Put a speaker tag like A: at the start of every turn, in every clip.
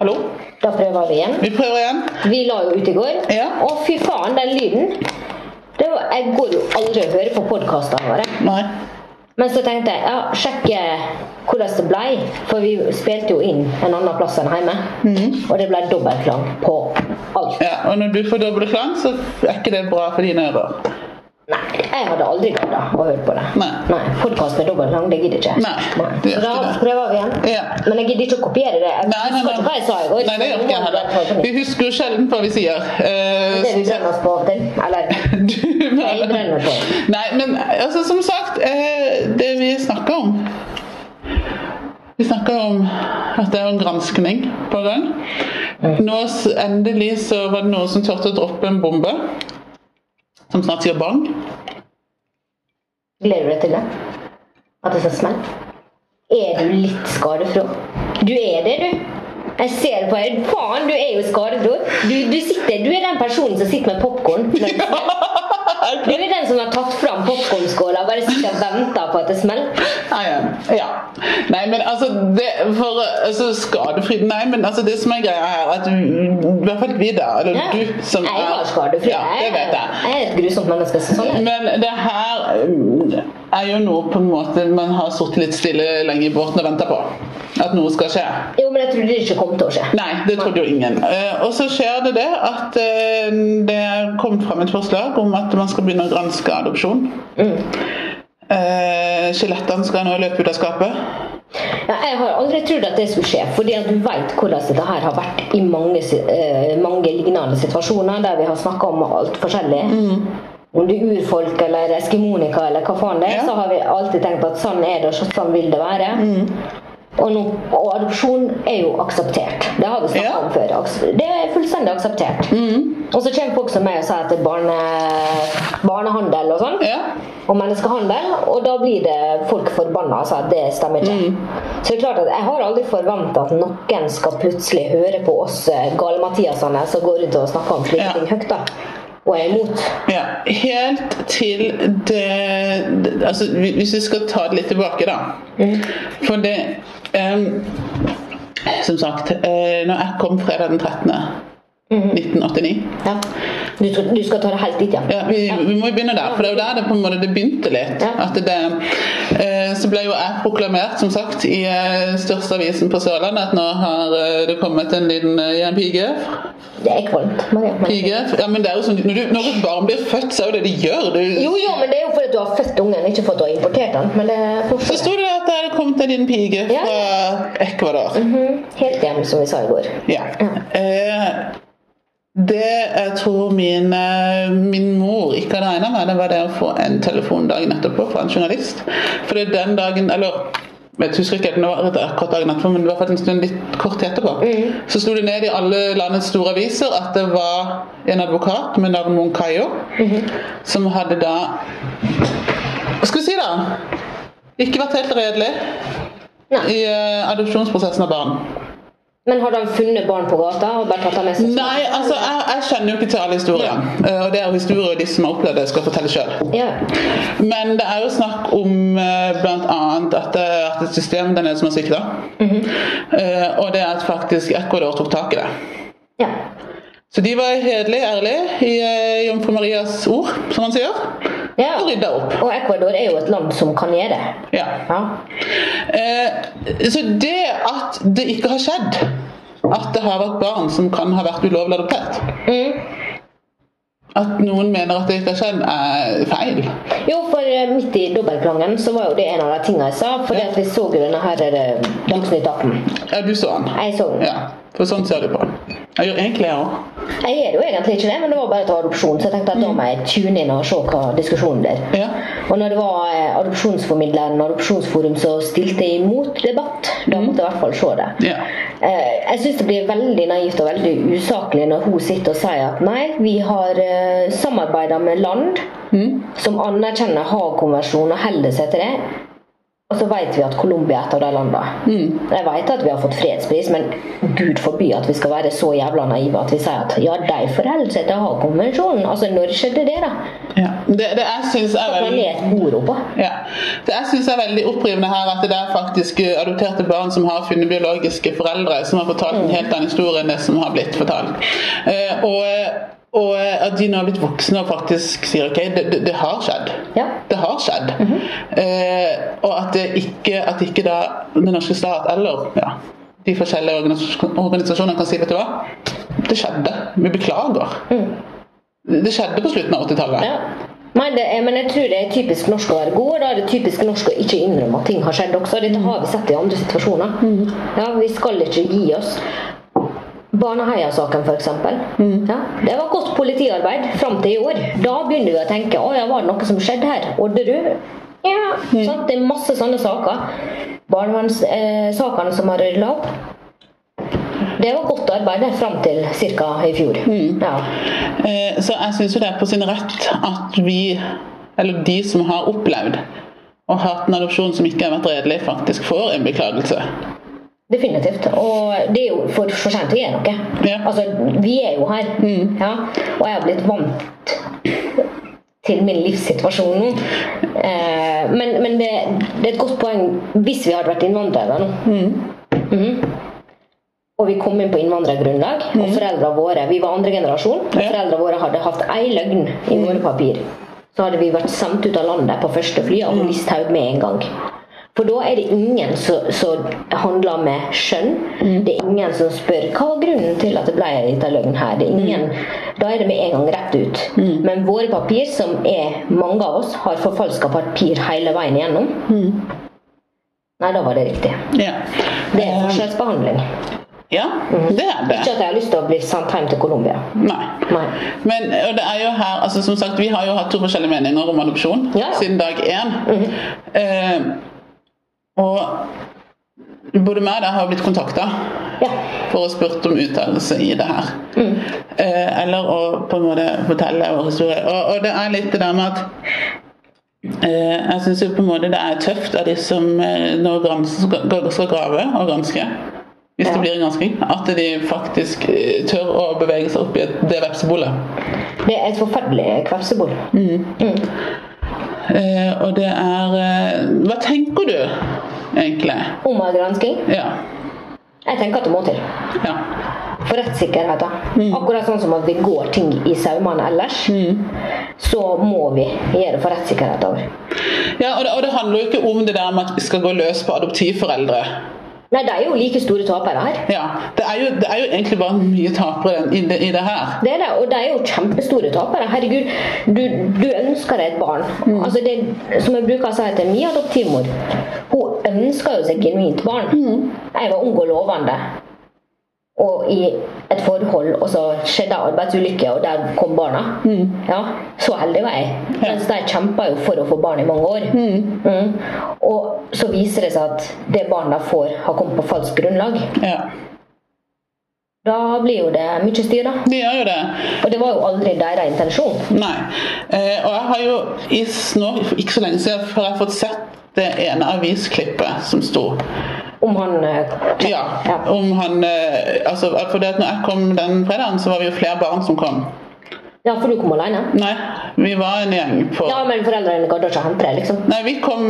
A: Hallo?
B: Da prøver vi igjen.
A: Vi prøver igjen.
B: Vi la jo ut i går.
A: Ja.
B: Og fy faen, den lyden det var, Jeg går jo aldri og hører på podkastene våre.
A: Nei.
B: Men så tenkte jeg ja, sjekke hvordan det blei. For vi spilte jo inn en annen plass enn hjemme. Og det blei dobbeltklang på
A: Mhm.
B: alt.
A: Ja, og når du får doble klang, så er ikke det bra for dine ører.
B: Nei, jeg hadde aldri gidda å høre på det.
A: Nei.
B: Nei Podkast med dobbeltklang, det gidder ikke jeg.
A: Nei, det
B: Så
A: gjør
B: da
A: ikke det.
B: prøver vi igjen.
A: Ja.
B: Men jeg gidder ikke å kopiere det. Jeg
A: Nei, nei,
B: husker
A: nei.
B: ikke hva jeg sa i går.
A: Nei, det gjør ikke jeg heller. Vi husker jo sjelden hva vi sier. Eh,
B: Det vi brenner oss på av og til. Eller
A: du
B: Jeg brenner på.
A: Nei, men altså, som sagt, eh, det vi snakker om Vi snakker om at det er en granskning på gang. Nå s- endelig så var det noen som turte å droppe en bombe. Som snart sier bang.
B: Gleder du deg til det? At det skal smelle? Er du litt skadefro? Du er det, du. Jeg ser på deg. Faen, du er jo skadefro. Du, du, sitter, du er den personen som sitter med popkorn. Du er den som har tatt fram popkornskåla og bare sitter og venter på at det smeller.
A: Ah, ja. ja. Nei, men altså, det, for, altså Skadefri Nei, men altså det som er greia her, at i hvert fall vi, da, eller
B: Ja.
A: du som
B: Jeg var skadefri.
A: Ja, det
B: Jeg-
A: vet jeg.
B: Jeg er et grusomt menneske. så Sånn er det.
A: Men det her mm, er jo noe på en måte man har sittet litt stille lenge i båten og venta på. At noe skal skje.
B: Jo, men jeg trodde det ikke kom til å skje.
A: Nei, det trodde jo ingen. Eh, Og så skjer det det at eh, det er kommet fram et forslag om at man skal begynne å granske adopsjon.
B: Mm.
A: Eh, Skjelettene skal nå løpe ut av skapet.
B: Ja, jeg har aldri trodd at det skulle skje, fordi at du vet hvordan dette her har vært i mange, si- eh, mange lignende situasjoner der vi har snakka om alt forskjellig.
A: Mm.
B: Om det er urfolk eller eskimonika eller hva faen det er,
A: Ja. Mm.
B: så har vi alltid tenkt at sånn er det, og sånn vil det være. Og, nå, og adopsjon er jo akseptert. Det har vi snakka
A: Ja. Mm.
B: om før. Aks- Det er fullstendig akseptert. Og så kommer folk som meg og sier at det er barne, barnehandel og sånn
A: Ja.
B: og menneskehandel, og da blir det folk forbanna og sier at det stemmer ikke. Så det er klart at Jeg har aldri forventa at noen skal plutselig høre på oss eh, gale-Mathiasene som går rundt og snakker om slike
A: Ja.
B: ting høyt, da. Og er imot.
A: Ja, helt til det, det altså, hvi- Hvis vi skal ta det litt tilbake, da.
B: Mm.
A: For det em, Som sagt, eh, når jeg kom fredag den 13.
B: Mm.
A: 1989
B: Ja. Du, skal- du skal ta det helt dit, ja.
A: ja, vi, vi må jo begynne der, for det er jo der det på en måte det begynte litt.
B: Ja.
A: At det, eh, så ble jo jeg proklamert, som sagt, i eh, største avisen på Sørlandet at nå har eh, det kommet en liten eh, en pige
B: Det er kvalmt. Maria. Men...
A: Pige? Ja, men det er jo sånn, når, du, når et barn blir født, så er jo det de gjør. Det er
B: Jo, jo, men det er jo fordi at du har født ungen, ikke fordi du har importert den. Men det er
A: Så
B: fortsatt
A: sto det at det hadde kommet en liten pike
B: Ja.
A: fra Ecuador.
B: Mhm. helt hjem, som vi sa i går.
A: Ja. Eh, det jeg tror min, eh, min mor ikke hadde regna med, det var det å få en telefon dagen etterpå fra en journalist. For det er den dagen, eller jeg husker ikke helt, det var rett akkurat dagen etterpå, men det var i hvert fall en stund litt kort etterpå. Så sto det ned i alle landets store aviser at det var en advokat med navn Moncayo som hadde da Hva skal vi si, da? Ikke vært helt redelig
B: Nei.
A: i eh, adopsjonsprosessen av barn.
B: Men har de funnet barn på gata og bare tatt dem med seg?
A: Nei, altså, jeg, jeg kjenner jo ikke til alle historiene. Eh, Og det er jo historier de som har opplevd det, skal fortelle sjøl.
B: Ja.
A: Men det er jo snakk om bl.a. at det er et system der nede som har svikta. Eh, Og det er at faktisk Ecuador tok tak i det.
B: ja.
A: Så de var hederlige, ærlige, i eh, jomfru Marias ord, som man sier.
B: Ja.
A: Og rydda opp.
B: Og Ecuador er jo et land som kan gjøre det.
A: Ja.
B: Ja.
A: Eh, så det at det ikke har skjedd, at det har vært barn som kan ha vært ulovlig adoptert At noen mener at det ikke har skjedd, er feil.
B: Jo, for eh, midt i dobbeltklangen så var jo det en av de tingene jeg sa. Fordi at vi så jo denne her eh, Dagsnytt 18.
A: Ja, du så den.
B: Jeg så den.
A: Ja, for sånn ser du på den. Jeg gjør egentlig jeg òg.
B: Jeg gjør jo egentlig ikke det, men det var bare et adopsjon, så jeg tenkte at da må jeg tune inn og se hva diskusjonen blir.
A: Mm. Ja.
B: Og når det var eh, adopsjonsformidleren og Adopsjonsforum som stilte imot debatt, da måtte jeg i hvert fall se det.
A: Ja.
B: Eh, Jeg syns det blir veldig naivt og veldig usaklig når hun sitter og sier at nei, vi har samarbeida med land som anerkjenner Haag-konvensjonen og holder seg til det. Og så vet vi at Colombia er et av de landene. Jeg vet at vi har fått fredspris, men gud forby at vi skal være så jævla naive at vi sier at ja, de forholder seg til Haag-konvensjonen. Altså, når skjedde det, da?
A: Ja. Det, det jeg syns er
B: At man
A: veldig
B: ler bordet på.
A: ja. Det jeg synes er veldig opprivende her, at det er faktisk eh, adopterte barn som har funnet biologiske foreldre, som har fortalt en helt annen historie enn det som har blitt fortalt. Eh, og, og eh, at de nå har blitt voksne og faktisk sier OK, det, det, det har skjedd.
B: Ja.
A: Det har skjedd. eh, og at det ikke, at ikke da den norske stat eller ja, de forskjellige organisa- organisasjonene kan si vet du hva, det skjedde. Vi beklager. Det det skjedde på slutten av 80-tallet.
B: Ja. Nei, det er, men jeg tror det er typisk norsk å være god, og da er det typisk norsk å ikke innrømme at ting har skjedd også. Dette har vi sett i andre situasjoner. Ja, vi skal ikke gi oss. Baneheia-saken, f.eks. Ja, det var godt politiarbeid fram til i år. Da begynner vi å tenke å ja, var det noe som skjedde her? Odderud? Ja. Sant? Det er masse sånne saker. Barnevernssakene eh, sakene som har rydda opp. Det var godt arbeid fram til ca. i fjor. Ja.
A: Eh, Så jeg syns jo det er på sin rett at vi, eller de som har opplevd og hatt en adopsjon som ikke har vært redelig, faktisk får en beklagelse.
B: Definitivt. Og det er jo for, for sent å gjøre noe.
A: Ja.
B: Altså, vi er jo her. Ja. Og jeg har blitt vant til min livssituasjon nå. Eh, men men det, det er et godt poeng hvis vi hadde vært innvandrere nå. Mhm. Og vi kom inn på innvandrergrunnlag, og foreldrene våre Vi var andre generasjon, og
A: Mhm. Ja. Mhm.
B: foreldrene våre hadde hatt ei løgn i våre papir. Så hadde vi vært sendt ut av landet på første fly
A: Mhm.
B: av Listhaug med en gang. For da er det ingen som som handler med skjønn.
A: Mhm.
B: Det er ingen som spør hva var grunnen til at det ble en liten løgn her. Det er ingen,
A: Mhm.
B: Da er det med en gang rett ut. Men våre papir, som er mange av oss, har forfalska papir hele veien igjennom.
A: Mhm.
B: Nei, da var det riktig.
A: Ja.
B: Det er
A: Eh,
B: forskjellsbehandling.
A: Ja, det er
B: Ikke
A: det.
B: at jeg har lyst til å bli sendt hjem til Colombia.
A: Nei.
B: Nei.
A: Men og det er jo her, altså som sagt, Vi har jo hatt to forskjellige meninger om adopsjon
B: Ja, Mm-hmm. ja.
A: siden dag én. eh, og både meg og deg har blitt kontakta
B: Ja.
A: for å spurt om uttalelse i det her. Eh, eller å på en måte fortelle vår historie. Og, og det er litt det der med at eh, jeg syns jo på en måte det er tøft av de som eh, nå grans, skal, skal grave og granske, hvis
B: Ja.
A: det blir en gransking, at de faktisk eh, tør å bevege seg opp i et- det vepsebolet.
B: Det er et forferdelig kvepsebol.
A: Eh, og det er eh, Hva tenker du egentlig?
B: Om av gransking?
A: Ja.
B: Jeg tenker at det må til.
A: ja.
B: For rettssikkerheten. Akkurat sånn som at vi går ting i saumene ellers, så må vi gjøre det for rettssikkerheten òg.
A: ja og, det, og det handler jo ikke om det der med at vi skal gå løs på adoptivforeldre.
B: Nei, de er jo like store tapere her.
A: Ja, det er, jo, det er jo egentlig bare mye tapere i det, i det her.
B: Det er det, og de er jo kjempestore tapere. Herregud, du, du ønsker deg et barn. Altså det, som jeg bruker å si til min adoptivmor, hun ønsker jo seg genuint barn. Jeg var ung og lovende. Og i et forhold, og så skjedde en arbeidsulykke, og der kom barna. Ja, Så heldig var jeg. Mens de kjempa jo for å få barn i mange år. Mm. Og så viser det seg at det barna får, har kommet på falskt grunnlag.
A: Ja,
B: Da blir jo det mye styr, da.
A: De gjør jo det.
B: Og det var jo aldri deres intensjon.
A: Nei. Eh, og jeg har jo i s- nå, for ikke så lenge siden har jeg fått sett det ene avisklippet som sto.
B: Om han eh,
A: Ja, om han eh, altså, For det at når jeg kom den fredagen, så var vi jo flere barn som kom.
B: ja, for du kom alene?
A: Nei, vi var en gjeng på
B: Ja, men foreldrene gadd ikke hente deg, liksom.
A: Nei, vi kom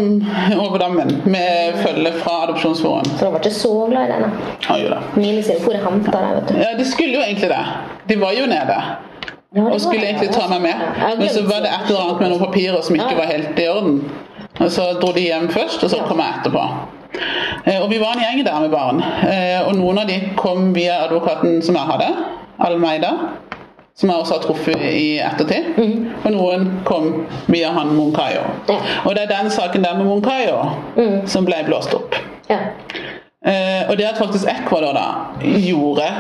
A: over dammen med følge fra Adopsjonsforum.
B: Så de var ikke så glad i deg, nei.
A: Ja, jo da.
B: Mine sine for å hente deg, vet du.
A: Ja, de skulle jo egentlig det. De var jo nede.
B: Ja, det
A: Og skulle
B: var-
A: egentlig ta meg med,
B: Ja, jeg
A: men så
B: glemte
A: var det et eller annet med noen papirer som ikke
B: Ja.
A: var helt i orden. Og Så dro de hjem først, og så
B: Ja.
A: kom jeg etterpå. Eh, Og vi var en gjeng der med barn. Eh, Og noen av de kom via advokaten som jeg hadde, Almeida. Som jeg også har truffet i ettertid. Og noen kom via han Munkayo.
B: Mhm. Ja.
A: Og det er den saken der med Munkayo
B: Mm.
A: som ble blåst opp.
B: Ja.
A: Eh, og det at faktisk Ecuador da gjorde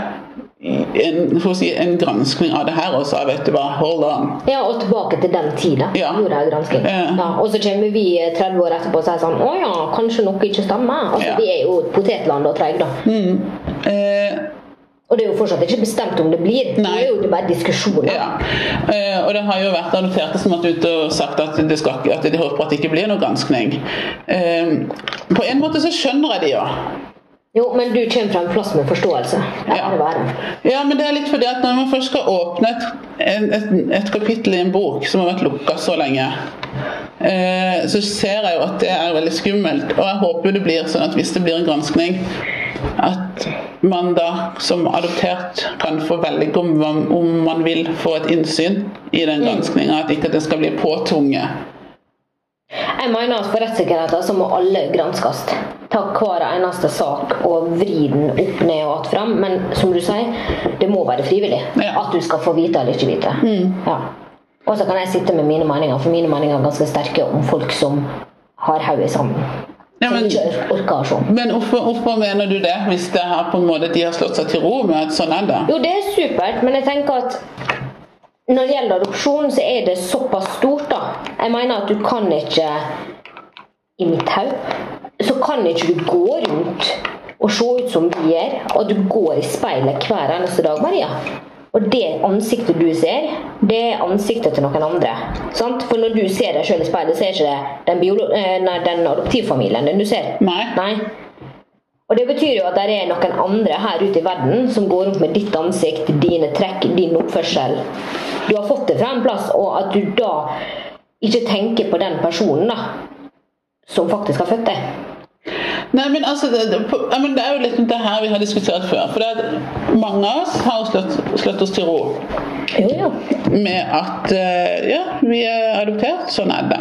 A: en, for å si, en granskning av det her og sa vet du hva, hold on.
B: ja, og tilbake til den tida.
A: Ja.
B: Gjorde jeg gransking.
A: Ja.
B: Og så kommer vi eh, 30 år etterpå og sier sånn Å ja, kanskje noe ikke stemmer. Altså,
A: Ja.
B: Vi er jo potetland og treige, da.
A: Eh,
B: Og det er jo fortsatt ikke bestemt om det blir.
A: Nei.
B: Det er jo bare diskusjoner.
A: ja. eh, og det har jo vært adopterte som har vært ute og sagt at, det skal, ikke- at de håper at det ikke blir noe granskning. Eh, på en måte så skjønner jeg de jo.
B: Jo, men du kommer fra en plass med forståelse. Ære være.
A: Ja, men det er litt fordi at når man først skal åpne et, en- et, et kapittel i en bok som har vært lukka så lenge, eh, så ser jeg jo at det er veldig skummelt. Og jeg håper jo det blir sånn at hvis det blir en granskning, at man da som adoptert kan få velge om man, om man vil få et innsyn i den granskninga. At ikke at det skal bli påtvunget.
B: Jeg mener at for rettssikkerheten så må alle granskes. Ta hver eneste sak og vri den opp ned og att fram. Men som du sier, det må være frivillig.
A: Ja. Mm.
B: At du skal få vite eller ikke vite. Ja. Og så kan jeg sitte med mine meninger, for mine meninger er ganske sterke om folk som har hodet sammen.
A: Ja,
B: som
A: men-
B: ikke orker å se.
A: Men hvorfor, hvorfor mener du det, hvis det her på en måte de har slått seg til ro med at sånn er det?
B: Jo, det er supert, men jeg tenker at når det gjelder adopsjon, så er det såpass stort, da. Jeg mener at du kan ikke I mitt hode så kan ikke du gå rundt og se ut som vi gjør, og du går i speilet hver eneste dag, Maria. Og det ansiktet du ser, det er ansiktet til noen andre. Sant? For når du ser deg sjøl i speilet, så er ikke det den, biolo eh, nei, den adoptivfamilien din du ser.
A: Nei.
B: Nei. Og det betyr jo at det er noen andre her ute i verden som går rundt med ditt ansikt, dine trekk, din oppførsel. Du har fått det fra en plass, og at du da ikke tenker på den personen da, som faktisk har født deg.
A: Nei, men altså, det, det, på- ja, men det er jo litt det her vi har diskutert før. For det at mange av oss har jo slått, slått oss til ro
B: Jo, jo.
A: med at eh, ja, vi er adoptert, sånn er det.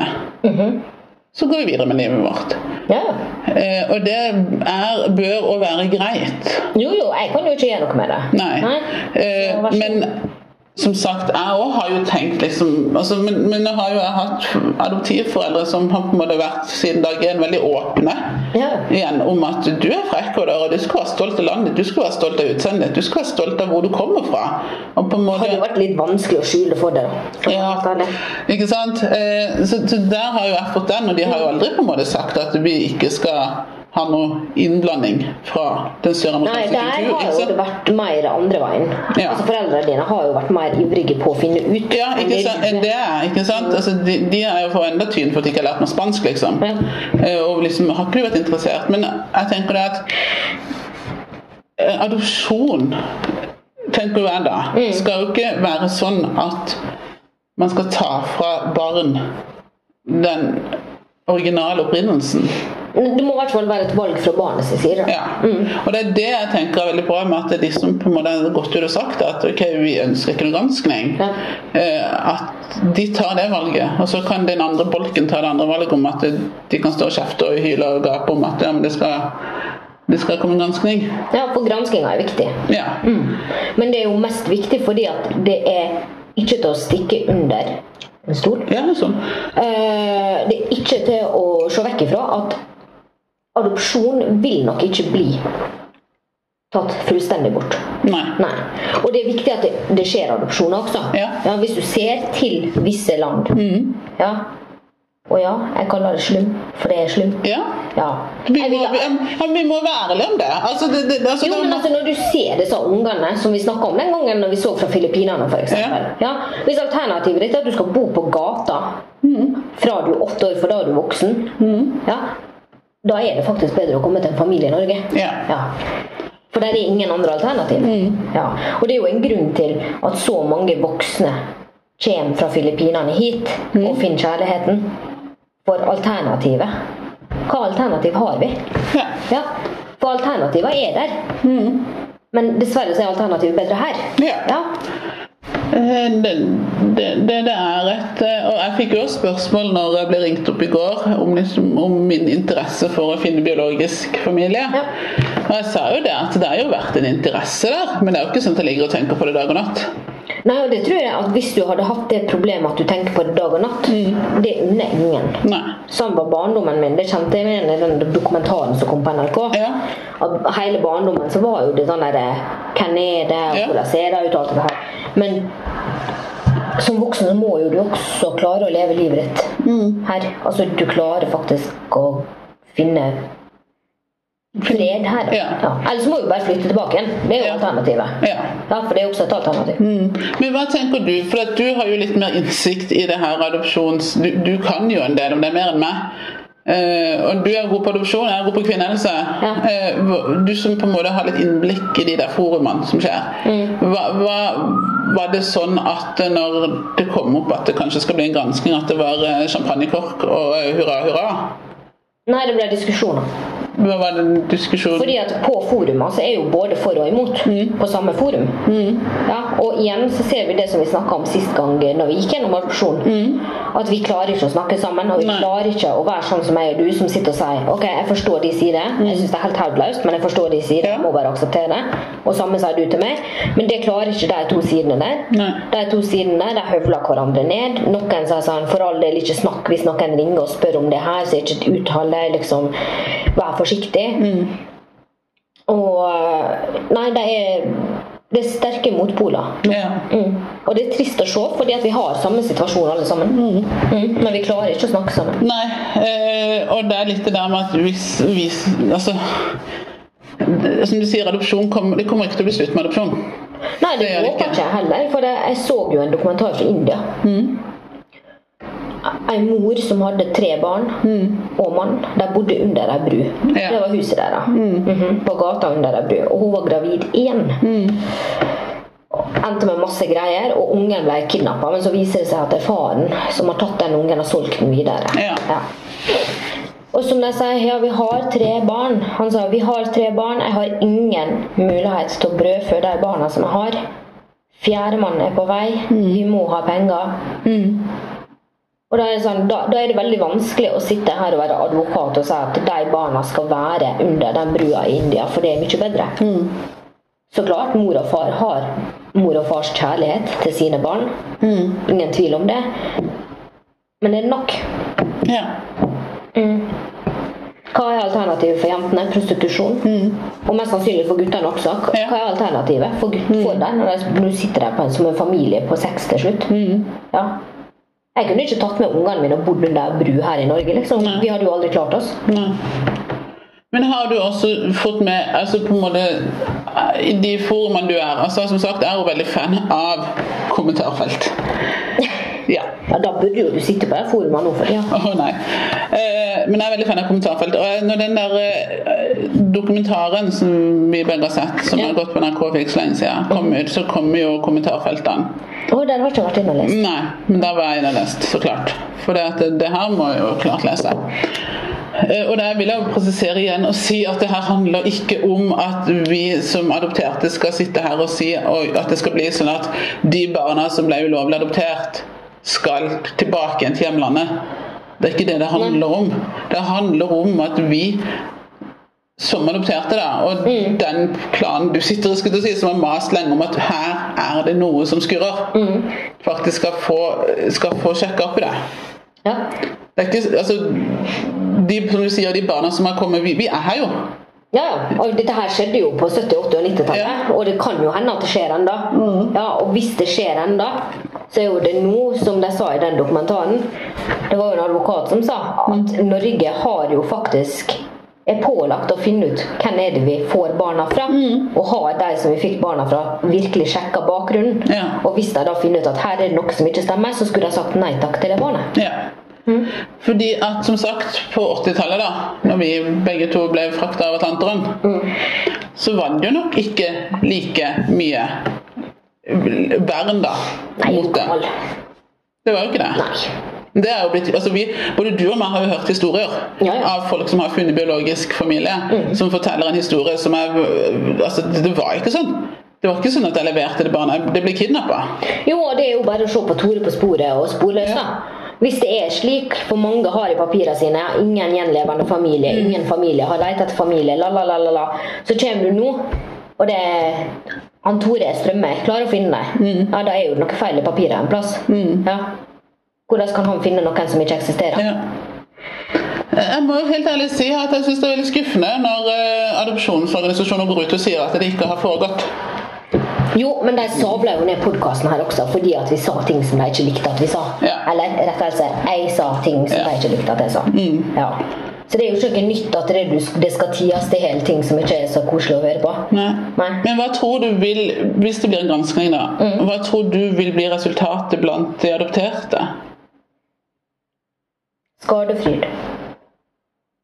A: Så går vi videre med livet vårt.
B: Ja, ja.
A: Eh, og det er, bør å være greit.
B: Jo, jo, jeg kan jo ikke gjøre noe med det.
A: Nei. Eh,
B: Så vær så god.
A: men som sagt, jeg òg har jo tenkt liksom altså, men, men nå har jo jeg hatt adoptivforeldre som har på en måte vært siden dag én veldig åpne
B: Ja.
A: igjen om at du er frekk og der, og du skal være stolt av landet ditt, du skal være stolt av utseendet ditt, du skal være stolt av hvor du kommer fra. Og på en
B: Det har jo
A: måte
B: vært litt vanskelig å skjule for deg. da.
A: ja, ikke sant? Eh, så, så der har jo jeg fått den, og de har jo aldri på en måte sagt at vi ikke skal ha noe innblanding fra den
B: Nei,
A: søramerikanske
B: der
A: kultur.
B: har
A: ikke
B: jo
A: sant?
B: det vært mer andre veien.
A: Ja.
B: Altså, Foreldrene dine har jo vært mer ivrige på å finne ut.
A: Ja,
B: enn
A: ikke
B: det-
A: sant? det er ikke sant? Altså, de, de er jo for enda tynn for at de ikke har lært meg spansk, liksom.
B: Ja.
A: Eh, Og liksom har ikke du vært interessert. Men jeg tenker det at eh, adopsjon, tenker jeg da, skal jo ikke være sånn at man skal ta fra barn den originale opprinnelsen.
B: Det må i hvert fall være et valg fra barnets side. da.
A: Ja. Og det er det jeg tenker er veldig bra med at det er de som på en måte har gått ut og sagt at ok, vi ønsker ikke noen granskning,
B: Ja.
A: eh, at de tar det valget. Og så kan den andre bolken ta det andre valget om at de kan stå og kjefte og hyle og gape om at ja, men det skal, det skal komme en granskning.
B: Ja, for granskinga er viktig.
A: Ja.
B: Mm. Men det er jo mest viktig fordi at det er ikke til å stikke under en stol.
A: Ja, sånn.
B: Eh, Det er ikke til å se vekk ifra at adopsjon vil nok ikke bli tatt fullstendig bort.
A: Nei.
B: Nei. Og det er viktig at det, det skjer adopsjoner også.
A: Ja. Mm.
B: Hvis du ser til visse land. Ja. Og ja, jeg kaller det slum, for det er slum.
A: Ja.
B: Ja.
A: Vi
B: Jeg
A: må,
B: vil-
A: vi, ja, vi må være ærlige om det. Altså, det, det, altså,
B: Jo,
A: det
B: men altså Når du ser disse ungene som vi snakka om den gangen når vi så fra Filippinene, f.eks.
A: Ja.
B: Ja. Ja, hvis alternativet ditt er at du skal bo på gata fra du er åtte år, for da er du voksen, ja, da er det faktisk bedre å komme til en familie i Norge.
A: Ja.
B: For der er ingen andre alternativ. Ja. Og det er jo en grunn til at så mange voksne kommer fra Filippinene hit og finner kjærligheten. For alternativet Hva alternativ har vi?
A: ja. Mm.
B: Ja, for alternativet er der. Men dessverre så er alternativet bedre her.
A: Ja. Eh, Det, det, det det er et eh, Og jeg fikk jo også spørsmål når jeg ble ringt opp i går om, liksom, om min interesse for å finne biologisk familie.
B: Ja.
A: Og jeg sa jo det at det har jo vært en interesse der, men det er jo ikke sånn at jeg ligger og tenker på det dag og natt.
B: Nei, og det tror jeg at hvis du hadde hatt det problemet at du tenker på det dag og natt,
A: Mm.
B: det unner jeg ingen.
A: Nei.
B: Sånn var barndommen min. Det kjente jeg igjen i den dokumentaren som kom på NRK.
A: Ja.
B: At hele barndommen så var jo det sånn derre Hvem er det, og
A: Ja.
B: hvordan ser det ut, og alt det her. Men som voksen så må jo du også klare å leve livet ditt
A: Mm.
B: her. Altså, du klarer faktisk å finne fred her.
A: Ja.
B: Ellers må du bare flytte tilbake igjen. Det er jo
A: Ja.
B: alternativet.
A: Ja.
B: Ja, for det er også et alternativ.
A: Mm. Men hva tenker du, for at du har jo litt mer innsikt i det her adopsjons... Du, du kan jo en del om det mer enn meg. Eh, Eh, og du er god på adopsjon, jeg er god på kvinnehelse.
B: Ja.
A: Eh, hva- du som på en måte har litt innblikk i de der forumene som skjer. Hva, hva, var det sånn at når det kom opp at det kanskje skal bli en gransking, at det var eh, champagnekork og eh, hurra, hurra?
B: Nei, det ble diskusjoner.
A: Hva var det en diskusjon
B: Fordi at på forum altså, er jo både for og imot
A: Mm.
B: på samme forum. Ja, og igjen så ser vi det som vi snakka om sist gang eh, når vi gikk gjennom adopsjon. At vi klarer ikke å snakke sammen, og vi
A: Mm. Nei.
B: klarer ikke å være sånn som jeg og du, som sitter og sier OK, jeg forstår de sier det. Jeg syns det er helt hodeløst, men jeg forstår de sier det.
A: Mm. Ja.
B: Jeg må bare akseptere det. Og samme sier du til meg. Men det klarer ikke de to sidene der.
A: Nei.
B: De to sidene der, de høvler hverandre ned. Noen sier sånn For all del, ikke snakk hvis noen ringer og spør om det her, så ikke uttal deg, liksom. Vær forsiktig. Og Nei, det er, det er sterke motpoler.
A: Ja.
B: Mm. Og det er trist å se, fordi at vi har samme situasjon alle sammen. Mm. Men vi klarer ikke å snakke sammen.
A: Nei, eh, og det er litt det der med at hvis, hvis Altså det- Som du sier, adopsjon kom, det kommer ikke til å bli slutt med adopsjon.
B: Nei, det
A: Det gjør det
B: håper
A: ikke.
B: ikke jeg heller, for det- jeg så jo en dokumentar fra India. Ei mor som hadde tre barn og mann. De bodde under ei bru.
A: Ja.
B: Det var huset deres. Mhm, På gata under ei bru. Og hun var gravid igjen. Endte med masse greier, og ungen ble kidnappa. Men så viser det seg at det er faren som har tatt den ungen og solgt den videre.
A: Ja.
B: Og som de sier, ja, vi har tre barn. Han sa vi har tre barn, jeg har ingen mulighet til å brødfø de barna som jeg har. Fjerdemann er på vei, vi må ha penger. Og da er, det sånn, da, da er det veldig vanskelig å sitte her og være advokat og si at de barna skal være under den brua i India, for det er mye bedre. Så klart, mor og far har mor og fars kjærlighet til sine barn. Ingen tvil om det. Men er det nok?
A: Ja.
B: Hva er alternativet for jentene? Prostitusjon. Og mest sannsynlig for guttene også. Hva
A: Mm. Ja. Mm.
B: hva er alternativet for, gutt, for dem når de nå sitter der på en, som en familie på seks til slutt?
A: Mm.
B: Ja. Jeg kunne ikke tatt med ungene mine og bodd under ei bru her i Norge. liksom.
A: Nei.
B: Vi hadde jo aldri klart oss.
A: Nei. Men har du også fått med altså på en måte, I de forumene du er altså Som sagt, jeg er jo veldig fan av kommentarfelt. Ja.
B: Ja, Da burde jo du sitte på det forumet nå for tida.
A: Åh, nei. Eh, men jeg er veldig fan av kommentarfelt. Og jeg- når den der eh, dokumentaren som vi begge har sett, som
B: Ja.
A: har gått på NRK for ikke så lenge siden, kom ut, så kommer jo kommentarfeltene.
B: Å, der har jeg ikke vært inne og lest.
A: Nei, men der var jeg inne og lest, så klart. For det, at det, det her må jeg jo klart lese. Eh, Og der vil jeg jo presisere igjen og si at det her handler ikke om at vi som adopterte skal sitte her og si og at det skal bli sånn at de barna som ble ulovlig adoptert, skal tilbake igjen til hjemlandet. Det er ikke det det handler om. Det handler om at vi som adopterte, da. Og den planen du sitter og skulle til å si, som har mast lenge om at her er det noe som skurrer, faktisk skal få, skal få sjekka opp i det.
B: Ja.
A: Det er ikke, altså, de, som du sier, de barna som har kommet Vi, vi er her jo.
B: Ja, ja. Og dette her skjedde jo på 70-, 80- og 90-tallet, og det kan jo hende at det skjer ennå.
A: Mm.
B: Ja, og hvis det skjer ennå, så er jo det nå, som de sa i den dokumentaren Det var jo en advokat som sa at
A: Mm.
B: Norge har jo faktisk er pålagt å finne ut hvem er det vi får barna fra,
A: Mm.
B: og har de som vi fikk barna fra, virkelig sjekka bakgrunnen.
A: Ja.
B: Og hvis de da finner ut at her er det noe som ikke stemmer, så skulle de sagt nei takk til det barnet.
A: Ja. Fordi at, som sagt, på 80-tallet, da når vi begge to ble frakta av Atlanteren, så var det jo nok ikke like mye vern, da,
B: Nei,
A: mot det.
B: lokal.
A: Det var jo ikke det.
B: Nei.
A: Det er jo blitt, altså vi, både du og meg har jo hørt historier
B: Ja, Mm. ja.
A: av folk som har funnet biologisk familie, som forteller en historie som er altså Det det var ikke sånn. Det var ikke sånn at jeg leverte det barnet. Det ble kidnappa.
B: Jo, og det er jo bare å se på Tore på sporet og sporløs, da. Hvis det er slik, for mange har i papirene sine ingen gjenlevende familie, ingen familie, har lett etter familie, la, la, la, la, la. Så kommer du nå, og det er han Tore Strømme klarer å finne deg. Ja, da er jo det noe feil i papiret en plass. Ja. Hvordan kan han finne noen som ikke eksisterer?
A: Ja. Jeg må jo helt ærlig si at jeg syns det er veldig skuffende når eh, adopsjonsorganisasjoner går ut og sier at det ikke har foregått.
B: Jo, men de sabla jo ned podkasten her også fordi at vi sa ting som de ikke likte at vi sa.
A: Ja.
B: Eller rettelse, altså, jeg sa ting som
A: Ja. Mm.
B: de ikke likte at jeg sa. Ja. Så det er jo ikke noe nytt at det, du- det skal ties til hele ting som ikke er så koselig å høre på.
A: Nei.
B: Nei. Mm.
A: Men hva tror du vil, hvis det blir en granskning, da, hva tror du vil bli resultatet blant de adopterte?
B: Skadefryd.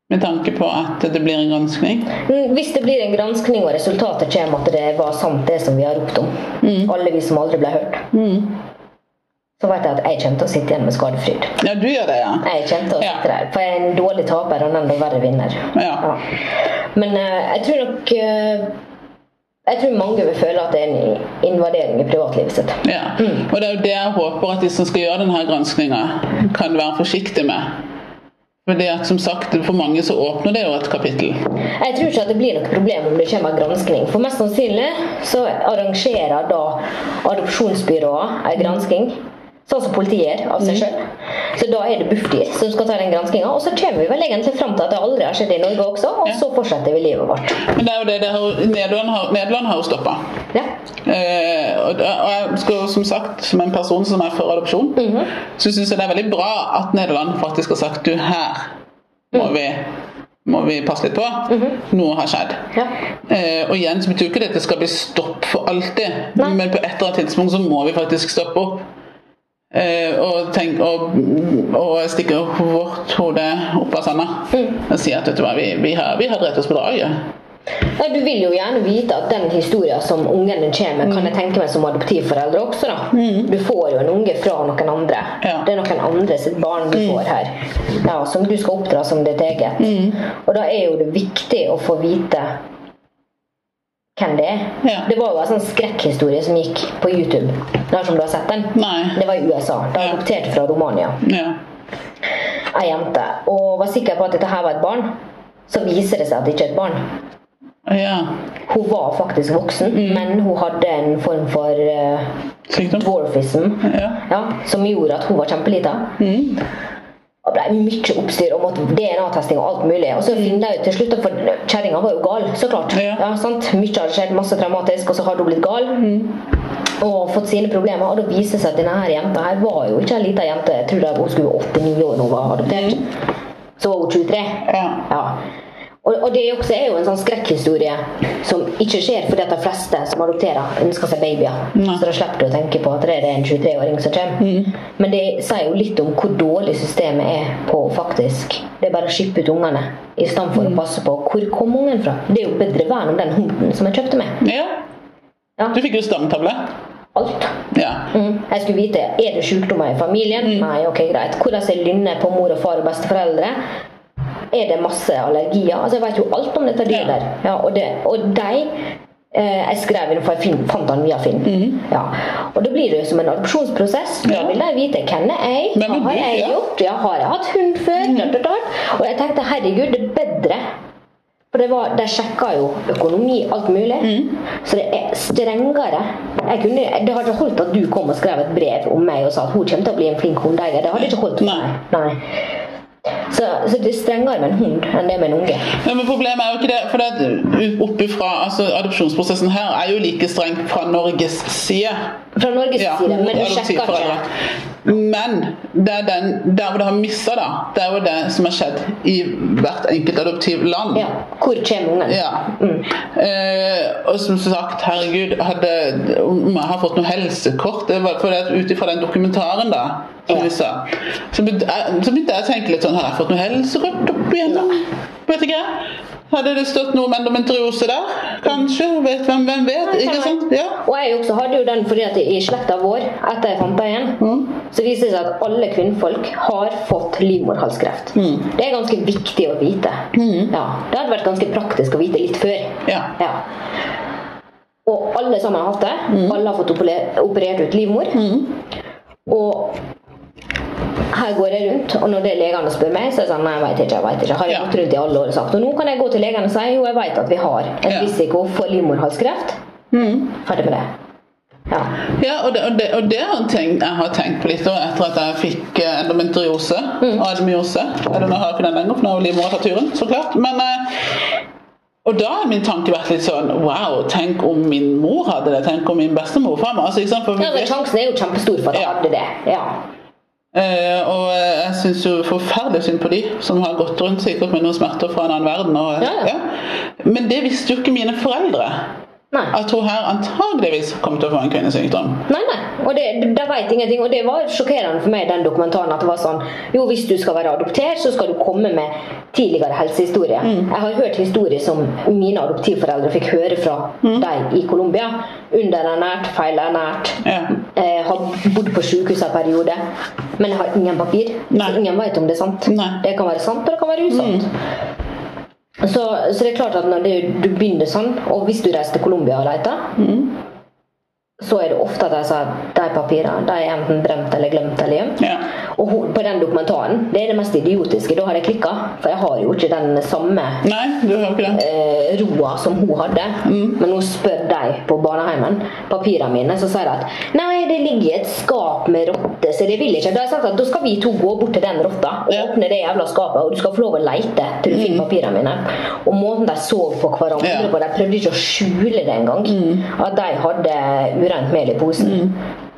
A: Med tanke på at det blir en granskning.
B: Mm, Hvis det blir en granskning og resultatet kommer at det var sant, det som vi har ropt om,
A: Mm.
B: alle vi som aldri ble hørt, så vet jeg at jeg kommer til å sitte igjen med skadefryd.
A: Ja, du gjør det, ja.
B: Jeg kommer til å
A: Ja.
B: sitte der, for jeg er en dårlig taper og en enda verre vinner.
A: Ja.
B: Men eh, jeg tror nok eh, Jeg tror mange vil føle at det er en invadering i privatlivet sitt.
A: ja. Og det er jo det jeg håper at de som skal gjøre denne granskninga, kan være forsiktige med. Fordi at som sagt, For mange så åpner det jo et kapittel.
B: Jeg tror ikke at det blir noe problem om det kommer en gransking. For mest sannsynlig så arrangerer da adopsjonsbyråer en gransking. Sånn som politiet gjør av seg sjøl. Så da er det Bufdir som skal ta den granskinga. Og så kommer vi vel egentlig fram til at det aldri har skjedd i Norge også, og så fortsetter vi livet vårt.
A: Men det er jo det, det har, Nederland har, Nederland har jo stoppa.
B: Ja.
A: Eh, og, og jeg skal jo som sagt, som en person som er for adopsjon,
B: Mhm.
A: så syns jeg det er veldig bra at Nederland faktisk har sagt du her må
B: Mhm.
A: vi, må vi passe litt på. Noe har skjedd.
B: Ja.
A: Eh, og igjen så betyr jo ikke det at det skal bli stopp for alltid,
B: Nei.
A: men på et eller annet tidspunkt så må vi faktisk stoppe opp. Eh, og, tenk, og, og stikke vårt hode opp av sanda
B: Mm.
A: og si at vet du hva, vi, vi, har, vi har drept oss på draget.
B: Ja, Du vil jo gjerne vite at den historien som ungene kommer med, kan jeg tenke meg som adoptivforeldre også, da. Du får jo en unge fra noen andre.
A: Mm. Ja. Mm.
B: Det er noen andre sitt barn du får her, ja, som du skal oppdra som ditt eget. Og da er jo det viktig å få vite hvem det er.
A: Ja.
B: Det var jo en sånn skrekkhistorie som gikk på YouTube. Dersom du har sett den.
A: Nei.
B: Det var i USA. Det
A: Ja.
B: adopterte fra Romania
A: Ja.
B: ei jente. Og var sikker på at dette her var et barn. Så viser det seg at det ikke er et barn.
A: ja.
B: Hun var faktisk voksen, men hun hadde en form for eh,
A: Sykdom.
B: dwarfism
A: Ja.
B: ja, som gjorde at hun var kjempelita. Og ble mye oppstyr og måtte DNA-testing og alt mulig. Og så finner de ut til slutt at for kjerringa var jo gal, så klart.
A: Ja.
B: sant? Mye hadde skjedd, masse traumatisk, og så hadde hun blitt gal. Og fått sine problemer. Og da viser det seg at denne her jenta her var jo ikke ei lita jente. Jeg tror det var- hun skulle være 8-9 år da hun var
A: Mm.
B: adoptert. Så var hun 23.
A: Ja.
B: Ja. Og, og det er også er jo en sånn skrekkhistorie som ikke skjer fordi at de fleste som adopterer, ønsker seg babyer.
A: Nei.
B: Så da slipper du å tenke på at det er en 23-åring som kommer. Men det sier jo litt om hvor dårlig systemet er på å faktisk Det er bare å skippe ut ungene i stedet for å passe på hvor kom ungen fra. Det er jo bedre vern om den hunden som jeg kjøpte med.
A: Ja.
B: Ja.
A: Du fikk jo stamtavle.
B: Alt.
A: Ja.
B: Mm. Jeg skulle vite er det sykdommer i familien.
A: Mm.
B: Nei, ok, greit. Hvordan er lynnet på mor og far og besteforeldre? Er det masse allergier? Altså, Jeg vet jo alt om dette
A: Ja.
B: dyret der. Ja, og, det, og de eh, Jeg skrev inn, for jeg fin- fant han via Finn. Ja. Og da blir det jo som en adopsjonsprosess. Da
A: Mm. Ja.
B: vil de vite hvem er jeg
A: Hvem er
B: Hva har
A: du?
B: jeg
A: Ja. Mm.
B: gjort? Ja, har jeg hatt hund før? Dart, dart, dart. Og jeg tenkte herregud, det er bedre. For det var, de sjekka jo økonomi, alt mulig.
A: Mm.
B: Så det er strengere. Jeg kunne, det hadde ikke holdt at du kom og skrev et brev om meg og sa at hun kommer til å bli en flink hundeeier. Det hadde ikke holdt. for
A: Nei.
B: meg. Nei. Så, så det er strengere med en hund enn det er med en unge.
A: Ja, men problemet er jo ikke det. For det er oppifra, altså Adopsjonsprosessen her er jo like streng fra Norges side.
B: Fra Norges
A: Ja,
B: side,
A: mot
B: men du sjekker
A: adoptivforeldre.
B: ikke.
A: Men det er den, der hvor det har missa, da. Det er jo det som har skjedd i hvert enkelt adoptivland.
B: Ja, hvor kommer ungen?
A: Ja. Eh, og som sagt, herregud, hadde, om jeg har fått noe helsekort det var for Ut ifra den dokumentaren, da, som
B: Ja.
A: vi sa, så begynte, jeg, så begynte jeg å tenke litt sånn Har jeg fått noe helsekort opp igjennom? Vet ikke. Hadde det stått noe om endometriose der? Kanskje? Vet hvem, hvem vet? Ikke sant? Ja.
B: Og jeg også hadde jo den fordi at i slekta vår, etter jeg fant deg igjen,
A: Mm.
B: så viser det seg at alle kvinnfolk har fått livmorhalskreft.
A: Mm.
B: Det er ganske viktig å vite. Ja, det hadde vært ganske praktisk å vite litt før.
A: Ja.
B: Og alle sammen har hatt det.
A: Mm.
B: Alle har fått opole- operert ut livmor. Og her går jeg rundt, og når det er legene spør meg, så er jeg sånn Nei, jeg vet ikke. jeg vet ikke Har jeg
A: Ja.
B: gått rundt i alle år og sagt Og nå kan jeg gå til legen og si jo, jeg vet at vi har en
A: Ja. Mm.
B: risiko for livmorhalskreft. Ferdig med det. Ja.
A: Ja, og det, og det, og det er en ting jeg har tenkt på litt da, etter at jeg fikk eh, endometriose
B: Mm.
A: og admyose. Jeg har jeg ikke den lenger, for nå har jo livmora tatt turen, så klart. Men, eh, og da har min tanke vært litt sånn Wow, tenk om min mor hadde det? Tenk om min bestemor faen meg, altså, ikke sant? For vi
B: Ja, men
A: vet-
B: Sjansen er jo kjempestor for at jeg
A: Ja.
B: hadde det. Ja.
A: Eh, og eh, jeg syns jo forferdelig synd på de som har gått rundt sikkert med noen smerter fra en annen verden. Og,
B: Ja, ja.
A: Men det visste jo ikke mine foreldre.
B: Nei.
A: at hun her antageligvis kommer til å få en kvinnesykdom.
B: Nei, nei. Og det, de vet ingenting. Og det var sjokkerende for meg i den dokumentaren at det var sånn Jo, hvis du skal være adoptert, så skal du komme med tidligere helsehistorie. Jeg har hørt historier som mine adoptivforeldre fikk høre fra de i Colombia. Underernært, feilernært.
A: Ja.
B: Eh, har bodd på sykehus en periode, men jeg har ingen papir.
A: Nei.
B: Så ingen vet om det er sant.
A: Nei. Mm.
B: Det kan være sant, og det kan være usant. Så, så det er klart at når det, du begynner sånn, og hvis du reiser til Colombia og leter,
A: Mm.
B: så er det ofte at de sier at de papirene de er enten brent eller glemt eller gjemt.
A: Ja.
B: Og ho- på den dokumentaren, det er det mest idiotiske. Da har jeg klikka, for jeg har jo ikke den samme
A: Nei, du har jo ikke det.
B: eh, roa som hun hadde.
A: Mm.
B: Men hun spør de på barneheimen, papirene mine, så sier de at nei, det ligger i et skap med rotter, så det vil ikke. Da har jeg sagt at da skal vi to gå bort til den rotta og
A: Ja. Mm.
B: åpne det jævla skapet, og du skal få lov å leite til du finner papirene mine. Og måten de så på hverandre
A: Ja. Mm.
B: på, de prøvde ikke å skjule det engang, at de hadde urent mel i posen.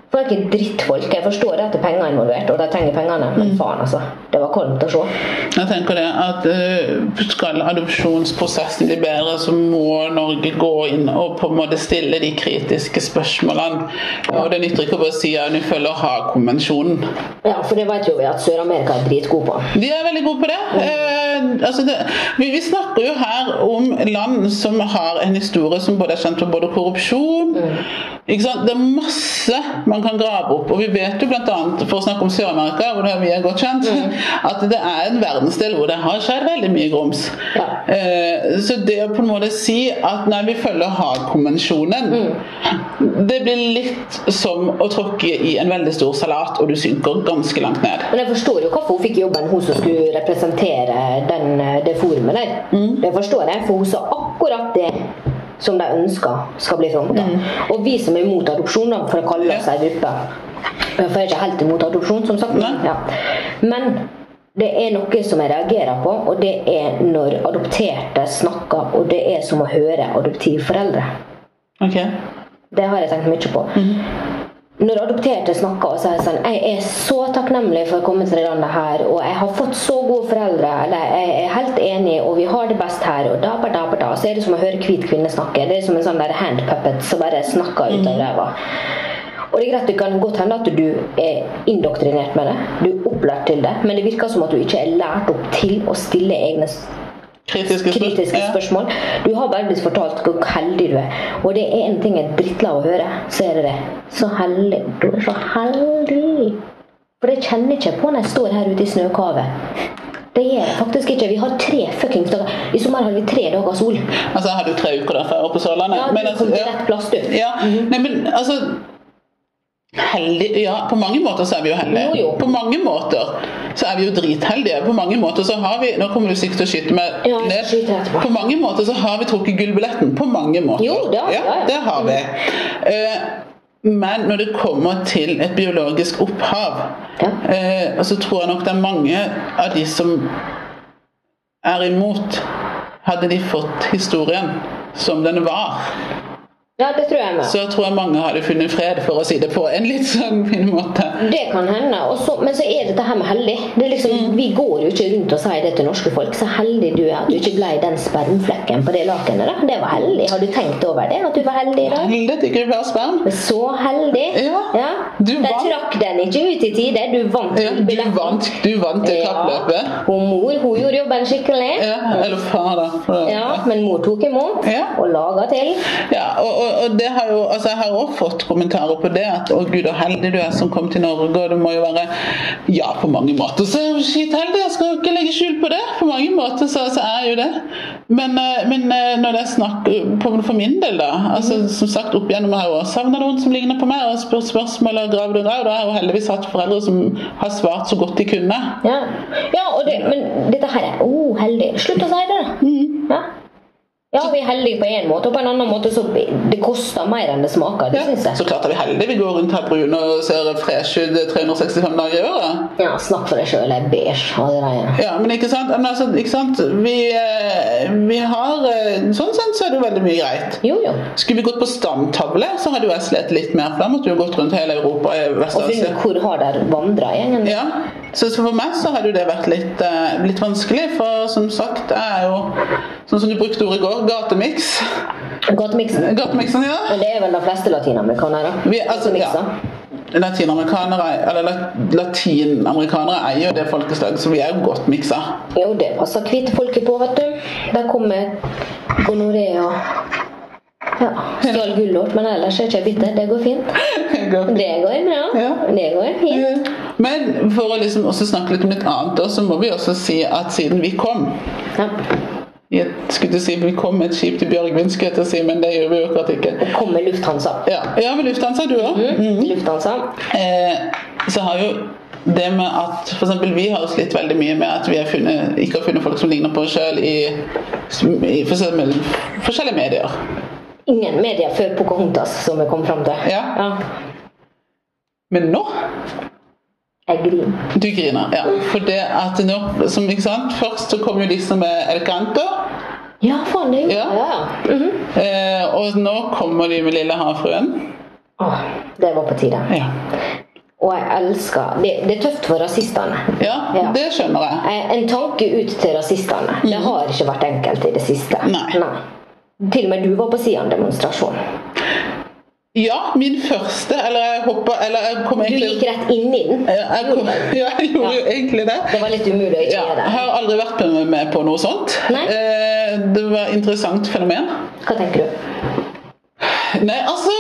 B: For det er ikke drittfolk. Jeg forstår at det er penger involvert, og de trenger pengene, men
A: Mm.
B: faen, altså. Det var kvalmt å se.
A: Jeg tenker det at eh, Skal adopsjonsprosessen bli bedre, så må Norge gå inn og på en måte stille de kritiske spørsmålene. Og Det nytter ikke å bare si at du følger Haag-konvensjonen.
B: Ja, for det vet jo vi at Sør-Amerika er dritgod på.
A: De er veldig gode på det. Eh, altså det vi, vi snakker jo her om land som har en historie som både er kjent for både korrupsjon ikke sant? Det er masse man kan grave opp. Og vi vet jo bl.a., for å snakke om Sør-Amerika, hvor det er vi er godt kjent, at det er en verdensdel hvor det har skjedd veldig mye grums.
B: Ja.
A: Eh, Så det å på en måte si at nei, vi følger Haag-konvensjonen, det blir litt som å tråkke i en veldig stor salat, og du synker ganske langt ned.
B: Men jeg forstår jo hvorfor hun fikk jobben, hun som skulle representere den, eh, det forumet der. Det forstår jeg, for hun sa akkurat det som de ønsker skal bli fronta. Og vi som er imot adopsjon, da, for å kalle oss ei gruppe For jeg er ikke helt imot adopsjon, som sagt.
A: Nei.
B: Ja. Men det er noe som jeg reagerer på, og det er når adopterte snakker, og det er som å høre adoptivforeldre.
A: Ok?
B: Det har jeg tenkt mye på. Når adopterte snakker og sier sånn Jeg er så takknemlig for å komme til det landet her, og jeg har fått så gode foreldre, eller jeg er helt enig, og vi har det best her, og da, ba, da, ba, da. Så er det som å høre hvit kvinne snakke. Det er som en sånn der hand puppet som bare snakker ut av ræva. Og det er greit, det kan godt hende at du er indoktrinert med det, du er opplært til det, men det virker som at du ikke er lært opp til å stille egne
A: Kritiske, spør-
B: kritiske
A: Ja.
B: spørsmål. Du har bare blitt fortalt hvor heldig du er. Og det er en ting jeg er drittla av å høre, så er det det. Så heldig. Du er så heldig. For det kjenner jeg ikke på når jeg står her ute i snøkavet. Det gjør jeg faktisk ikke. Vi har tre fuckings dager. I sommer har vi tre dager sol.
A: Altså, jeg hadde jo tre uker der før jeg var på Sørlandet.
B: Ja,
A: men
B: du
A: altså,
B: kom til
A: ja.
B: rett plass, du.
A: Ja,
B: Mhm.
A: nei, men altså Heldig Ja, på mange måter så er vi jo heldige.
B: Jo, jo.
A: På mange måter så er vi jo dritheldige. På mange måter så har vi Nå kommer du sikkert til å skyte meg
B: Ja, jeg skyter etterpå.
A: På mange måter så har vi trukket gullbilletten. På mange måter.
B: Jo, det har vi,
A: ja,
B: ja, ja.
A: det har vi. Eh, men når det kommer til et biologisk opphav,
B: Ja.
A: eh, så tror jeg nok det er mange av de som er imot, hadde de fått historien som den var
B: Ja, det tror jeg med.
A: så tror jeg mange hadde funnet fred, for å si det på en litt sånn fin måte.
B: Det kan hende. Og så, men så er dette her med heldig. Det er liksom,
A: Mm.
B: Vi går jo ikke rundt og sier det til norske folk. Så heldig du er at du ikke ble i den spermflekken på det lakenet. da. Det var heldig. Har du tenkt over det? At du var heldig i dag?
A: Heldet ikke ble sperm.
B: Så heldig.
A: Ja. Du
B: Der
A: vant.
B: trakk den ikke ut i tide. Du vant.
A: Ja, du
B: billetten.
A: vant, du vant det kappløpet.
B: Ja. Og mor hun gjorde jobben skikkelig.
A: Ja, eller far, da. for-
B: Ja, Men mor tok imot
A: Ja.
B: og laga til.
A: Ja, og, og, og det har jo, altså Jeg har også fått kommentarer på det. At 'Å, gud, så heldig du er som kom til Norge', og du må jo være Ja, på mange måter så er jeg skitheldig. Jeg skal ikke legge skjul på det. På mange måter så, så er jeg jo det. Men, eh, men eh, når det er snakk på, for min del, da altså
B: Mm.
A: Som sagt, opp gjennom her òg. Savner noen som ligner på meg? Og spør spørsmål og graver og graver. Da har jeg jo heldigvis hatt foreldre som har svart så godt de kunne.
B: Ja, ja og det, men dette her er oh, heldig. Slutt å si det, da.
A: Mm.
B: Ja. ja, vi er heldige på en måte, og på en annen måte så det koster mer enn det smaker. Det
A: Ja,
B: synes
A: så
B: jeg.
A: klart er vi heldige. Vi går rundt her brune og ser fresh ut eh, 365 dager i året.
B: Ja, snakk for deg sjøl, jeg er beige. og det der, ja.
A: Ja, men ikke sant, men altså, ikke sant? Vi, eh, vi har eh, Sånn sett så er det jo veldig mye greit.
B: Jo, jo.
A: Skulle vi gått på stamtavle, så hadde jo jeg slitt litt mer. For da måtte vi jo gått rundt hele Europa og
B: Og
A: Vest-Asia.
B: funnet hvor har dere vandra, egentlig?
A: Ja. Så for meg så hadde jo det vært litt, eh, litt vanskelig, for som sagt, jeg er jo Sånn som du brukte ordet i går, gatemiks.
B: Gatemiksen.
A: Gatemiksen, ja.
B: Men det er vel de fleste latinamerikanere?
A: Vi, altså, ja.
B: Gatemikser.
A: Latinamerikanere, eller lat- latinamerikanere er jo det folkeslaget, så vi er jo godt miksa.
B: Jo, det passer hvite folket på, vet du. Der kommer gonoré og ja, stjal gulrot, men ellers er jeg ikke bitter. Det går fint. Det går bra.
A: Ja.
B: Det går fint.
A: Men for å liksom også snakke litt om litt annet, da, så må vi også si at siden vi kom
B: Ja.
A: Jeg skulle til å si vi kom med et skip til Bjørgvin, skulle jeg til å si, men det gjør vi jo akkurat ikke.
B: Kommer Lufthansa.
A: Ja, ja med Lufthansa, du òg.
B: Mm. Lufthansa.
A: Eh, så har jo det med at for eksempel, Vi har jo slitt veldig mye med at vi har funnet, ikke har funnet folk som ligner på oss sjøl i, i for eksempel, forskjellige medier.
B: Ingen medier før Pocahontas, som jeg kom fram til.
A: Ja. Men nå
B: Jeg griner.
A: Du griner. ja. For det at nå, som, ikke sant? Først så kom jo de som er elegante.
B: Ja, faen, det gjorde
A: Ja.
B: jeg. Ja. Ja. Mhm.
A: Eh, og nå kommer de med Lille havfruen.
B: Åh, det var på tide.
A: Ja.
B: Og jeg elsker Det, det er tøft for rasistene.
A: ja,
B: Ja.
A: det skjønner jeg.
B: Eh, En tanke ut til rasistene. Det har ikke vært enkelt i det siste.
A: Mhm. Nei.
B: Til og med du var på Sian-demonstrasjon.
A: Ja, min første Eller jeg hoppa Eller jeg kom
B: Du
A: egentlig
B: gikk rett inn i den.
A: Ja, jeg, kom, ja, jeg gjorde jo egentlig det.
B: Det var litt umulig å ikke
A: Ja,
B: gjøre
A: jeg
B: det.
A: har aldri vært med, med på noe sånt.
B: Nei.
A: Eh, det var et interessant fenomen.
B: Hva tenker du?
A: Nei, altså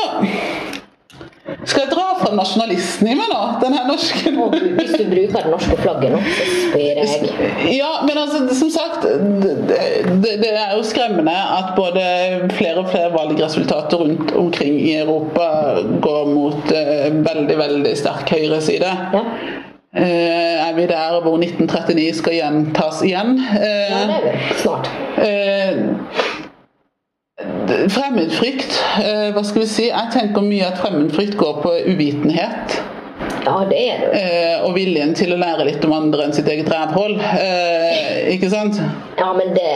A: Skal jeg dra fra nasjonalisten i meg nå? Den her norske
B: Å, Gud, Hvis du bruker det norske flagget nå, så spyr jeg.
A: Ja, men altså, det- som sagt det, det- det er jo skremmende at både flere og flere valgresultater rundt omkring i Europa går mot eh, veldig, veldig sterk høyreside.
B: Ja,
A: Eh, er vi der hvor 1939 skal gjentas igjen? Eh,
B: ja det er vi. Snart.
A: Eh, d- fremmedfrykt, eh, hva skal vi si? Jeg tenker mye at fremmedfrykt går på uvitenhet.
B: Ja, det er det.
A: Eh, og viljen til å lære litt om andre enn sitt eget rævhold. Eh, ikke sant?
B: Ja, men det,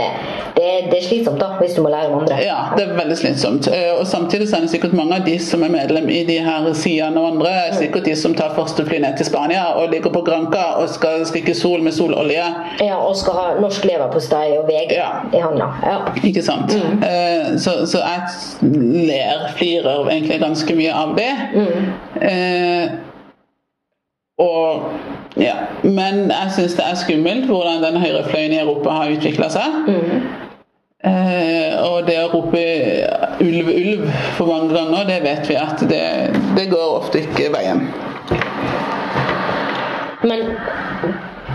B: det, det er slitsomt, da, hvis du må lære om andre.
A: Ja, det er veldig slitsomt. Eh, og samtidig så er det sikkert mange av de som er medlem i de her sidene og andre, er sikkert de som tar første fly ned til Spania og ligger på Granca og skal stikke sol med sololje.
B: Ja, Og skal ha norsk leverpostei og VG
A: Ja.
B: i handa. Ja.
A: Ikke sant? Eh, så, så jeg ler, flirer egentlig ganske mye av det. Eh, og ja. Men jeg syns det er skummelt hvordan den høyrefløyen i Europa har utvikla seg. Eh, og det å rope ulv, ulv for mange ganger, det vet vi at det, det går ofte ikke veien.
B: Men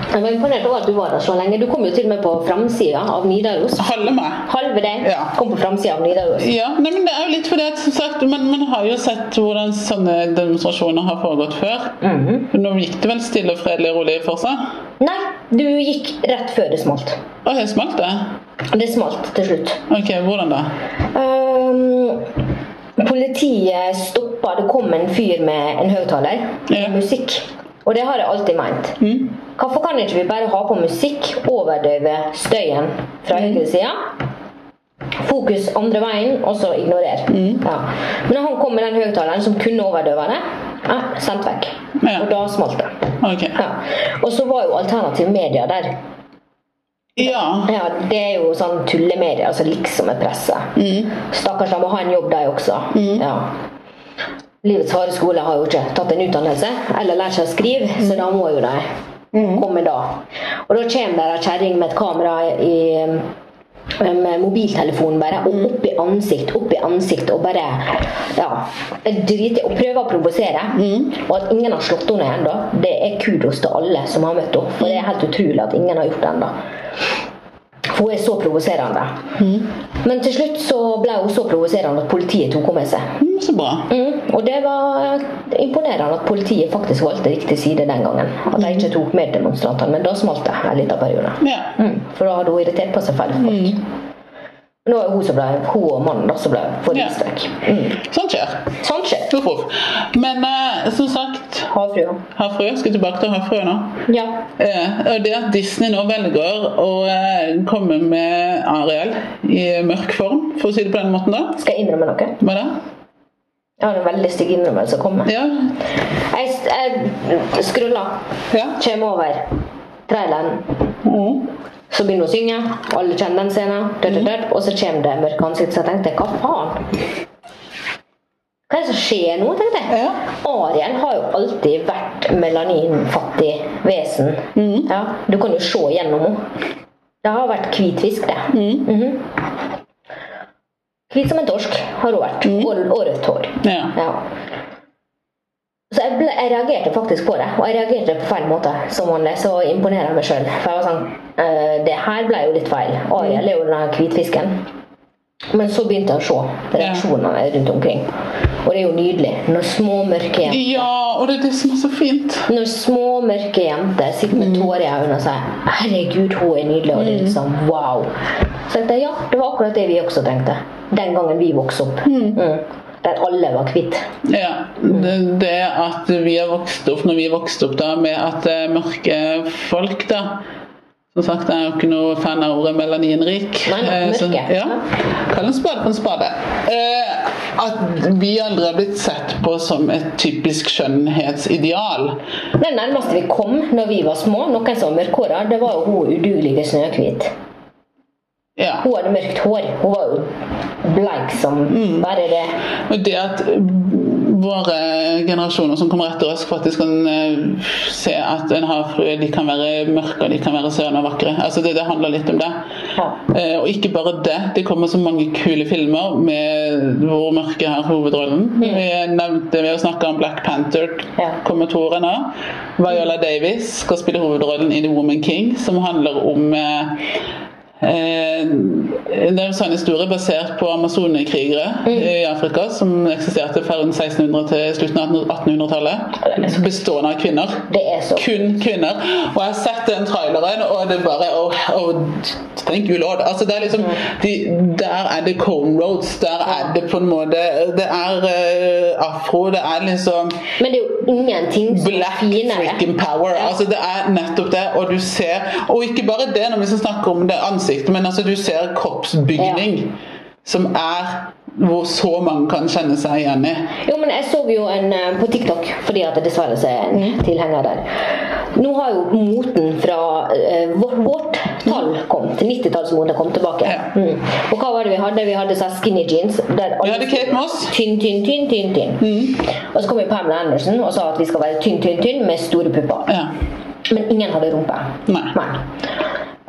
B: jeg var imponert over at du var der så lenge. Du kom jo til og med på framsida av Nidaros.
A: Holde meg.
B: Halve deg
A: Ja.
B: kom på framsida av Nidaros.
A: Ja, nei, men det er jo litt fordi at som sagt, man, man har jo sett hvordan sånne demonstrasjoner har foregått før.
B: Mhm.
A: Nå gikk det vel stille og fredelig og rolig for seg?
B: Nei, du gikk rett før det smalt.
A: Å, jeg smalt det?
B: Det smalt til slutt.
A: Ok, hvordan da?
B: Ehm, politiet stoppa Det kom en fyr med en høyttaler
A: Ja.
B: med musikk. Og det har jeg alltid meint.
A: Mm.
B: Hvorfor kan ikke vi bare ha på musikk, overdøve støyen
A: Mm.
B: fra høyresida? Fokus andre veien, og så ignorer.
A: Mm.
B: Ja. Men han kom med den høyttaleren som kunne overdøve det. Ja, sendt vekk.
A: Ja.
B: Og da smalt det.
A: Ok.
B: Ja. Og så var jo alternativ media der.
A: Ja.
B: Ja, Det er jo sånn tullemedier, altså liksom er presse. Stakkars, de må ha en jobb, de også. Ja. Livets harde skole har jo ikke tatt en utdannelse eller lært seg å skrive, så da må jo de komme da. Og da kommer der ei kjerring med et kamera i med mobiltelefonen bare, og opp i ansikt, opp i ansikt, og bare ja, drite og prøve å provosere. Og at ingen har slått henne ennå, det er kudos til alle som har møtt henne. For det er helt utrolig at ingen har gjort det ennå. For hun er så provoserende. Men til slutt så ble hun så provoserende at politiet tok henne med seg.
A: Mm, Så bra.
B: Mm. Og det var imponerende at politiet faktisk valgte riktig side den gangen. At de ikke tok med demonstrantene. Men da smalt det en liten periode.
A: Ja.
B: Mm. For da hadde hun irritert på seg feil folk. Nå er det hun, som ble, hun og mannen da, som ble forvist
A: Ja.
B: vekk. Mm.
A: Sånt skjer.
B: Sånt skjer.
A: Huff, huff. Men eh, som sagt,
B: Havfrua.
A: havfrue. Skal tilbake til havfrue nå.
B: Ja.
A: Eh, og det at Disney nå velger å eh, komme med Ariel i mørk form, for å si det på den måten, da.
B: Skal jeg innrømme noe?
A: Hva da?
B: Jeg har en veldig stygg innrømmelse å komme med.
A: Ja.
B: Jeg, jeg skrulla.
A: Ja.
B: Kjem over traileren.
A: Mm.
B: Så begynner hun å synge, og alle kjenner den scenen. Død, død, død. Og så kommer det mørke ansikt, så jeg tenkte hva faen? Hva er det som skjer nå, tenkte jeg.
A: Ja.
B: Ariel har jo alltid vært melaninfattig vesen.
A: Mhm.
B: Ja, du kan jo se gjennom henne. Det har vært hvit fisk, det.
A: Mhm.
B: Mhm. Hvit som en torsk har hun vært. Og, og rødt hår.
A: Ja.
B: Ja. Så jeg, ble, jeg reagerte faktisk på det, og jeg reagerte på feil måte. Som vanlig så imponerer jeg meg sjøl. For jeg var sånn eh, Det her ble jo litt feil. Ariel er jo den her hvitfisken. Men så begynte jeg å se reaksjonene rundt omkring. Og det er jo nydelig når små, mørke jenter
A: ja, og det er det som er så fint.
B: når små, mørke jenter sitter med tårer i øynene og sier 'Herregud, hun er nydelig', og det er liksom wow. Så tenkte jeg ja, det var akkurat det vi også trengte. Den gangen vi vokste opp. Mm. Der alle var kvitt.
A: Ja, det, det at vi har vokst opp når vi vokste opp da, med at eh, mørke folk da Som sagt, jeg er jo ikke noe fan av ordet melaninrik.
B: Nei, nei,
A: Eh, så-
B: mørke.
A: ja. Kall en spade for en spade. Eh, at vi aldri har blitt sett på som et typisk skjønnhetsideal.
B: Det nærmeste vi kom når vi var små, noen som var mørkhåra, det var jo hun udugelige Snøhvit.
A: Ja.
B: Hun hadde mørkt hår. Hun var jo bleik som
A: Mm.
B: bare det.
A: Og det at mm, våre generasjoner som kommer etter oss, faktisk kan eh, se at en havfrue de kan være mørke og de kan være søne og vakre. Altså det, det handler litt om det.
B: Ja.
A: Eh, og ikke bare det. Det kommer så mange kule filmer med hvor mørke har hovedrollen. Vi nevnte vi har snakket om Black Panther,
B: Mm. Ja.
A: kommer toeren nå. Viola Davis skal spille hovedrollen i The Woman King, som handler om eh, Eh, Det er en sånn historie basert på amazonekrigere eh, i Afrika som eksisterte fra rundt 1600 til slutten av 1800-tallet. som Bestående av kvinner.
B: Det er så
A: Kun kvinner. Og jeg har sett den traileren, og det er bare oh, oh, Thank you, lord. Altså, det er liksom, de, der er det Cone Roads. Der er det på en måte Det er eh, afro. Det er liksom
B: Men det er jo ingenting som er
A: Black
B: finere.
A: freaking power. Altså Det er nettopp det. Og du ser Og ikke bare det når vi skal snakke om det ansiktet, men altså du ser kroppsbygning som er hvor så mange kan kjenne seg igjen i.
B: Jo, men jeg så jo en eh, på TikTok, fordi at jeg dessverre så er jeg
A: Mm.
B: en tilhenger der. Nå har jo moten fra eh, vårt, vårt tall kom, til 90-tallsmoten kom tilbake.
A: Mm. Ja.
B: Mm. Og hva var det vi hadde? Vi hadde så her skinny jeans. Der
A: Vi hadde Kate Moss. Mm.
B: Tynn, tynn, tynn, tynn. tynn. Og så kom jo Pamela Andersen og sa at vi skal være tynn, tynn, tynn med store pupper.
A: Ja.
B: Men ingen hadde rumpe.
A: Nei.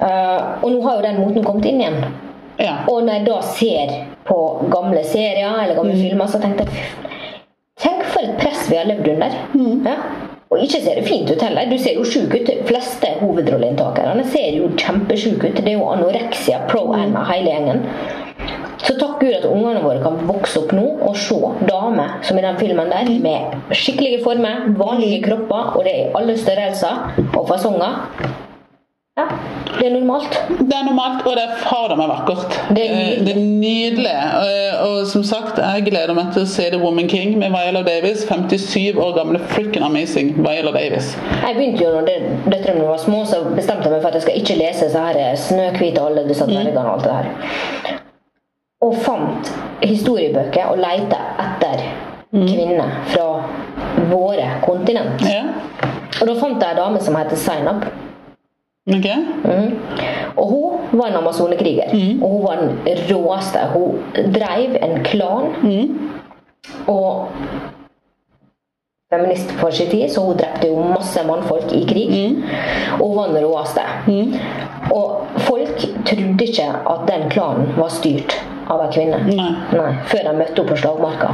B: Eh, og nå har jo den moten kommet inn igjen.
A: ja.
B: Og når jeg da ser på gamle serier eller gamle filmer, så tenkte jeg "Fy, Tenk for et press vi har levd under. Ja? Og ikke ser det fint ut heller. Du ser jo sjuk ut. De fleste hovedrolleinntakerne ser jo kjempesjuke ut. Det er jo anoreksia, pro-anna, hele gjengen. Så takk Gud at ungene våre kan vokse opp nå og se damer som i den filmen der, med skikkelige former, vanlige kropper, og det er i alle størrelser og fasonger. Ja, det er normalt.
A: Det er normalt, og det er fader meg vakkert.
B: Det er nydelig.
A: Eh, det er nydelig. Eh, Og som sagt, jeg gleder meg til å se The Woman King med Viola Davis. 57 år gamle freaking amazing Viola Davis.
B: Jeg begynte jo når det- døtrene mine var små, så bestemte jeg meg for at jeg skal ikke lese så her eh, Snøhvit og alle disse dvergene og alt det her. Og fant historiebøker og leita etter kvinner fra våre kontinent.
A: Ja,
B: Og da fant jeg ei dame som heter Zainab.
A: ok?
B: Mhm. Og hun var en amazonekriger. Og hun var den råeste. Hun dreiv en klan. Og feminist for sin tid, så hun drepte jo masse mannfolk i krig. Og hun var den råeste. Og folk trodde ikke at den klanen var styrt av ei kvinne.
A: Nei.
B: Nei, Før de møtte henne på slagmarka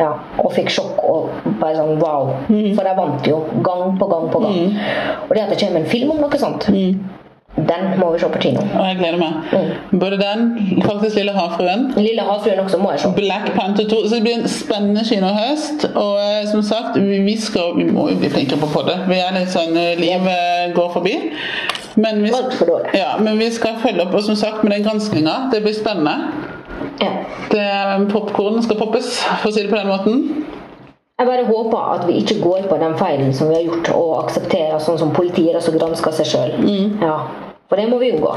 A: Ja.
B: og fikk sjokk. og bare sånn, wow. For de vant jo gang på gang på gang. Og det at det kommer en film om noe sånt, den må vi se på kino.
A: Og jeg gleder meg. Både den, faktisk Lille havfruen,
B: Den lille havfruen også må jeg se.
A: Black Panther 2. Så det blir en spennende kinohøst. Og eh, som sagt, vi, vi, skal, vi må jo bli flinkere på det. Vi er litt sånn eh, Livet går forbi. Men vi,
B: Alt for dårlig.
A: ja, men vi skal følge opp og som sagt med den granskinga. Det blir spennende.
B: Ja.
A: Popkornen skal poppes, for å si det på den måten.
B: Jeg bare håper at vi ikke går på den feilen som vi har gjort, og aksepterer sånn som politiet også gransker seg sjøl. Ja. For det må vi unngå.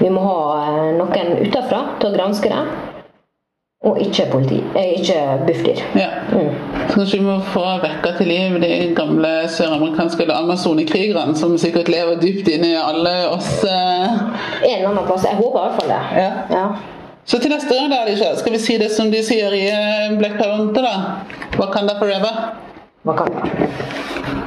B: Vi må ha eh, noen utenfra til å granske det. Og ikke politi. Eh, ikke Bufdir.
A: Ja.
B: Mm.
A: Så kanskje vi må få vekka til liv de gamle søramerikanske eller amazonekrigerne som sikkert lever dypt inne i alle oss. eh.
B: En eller annen plass. Jeg håper i hvert fall det.
A: Ja.
B: Ja.
A: Så til neste år, da, Alicia, skal vi si det som de sier i eh, Black Panther, da? Wakanda forever?
B: Hva kan det?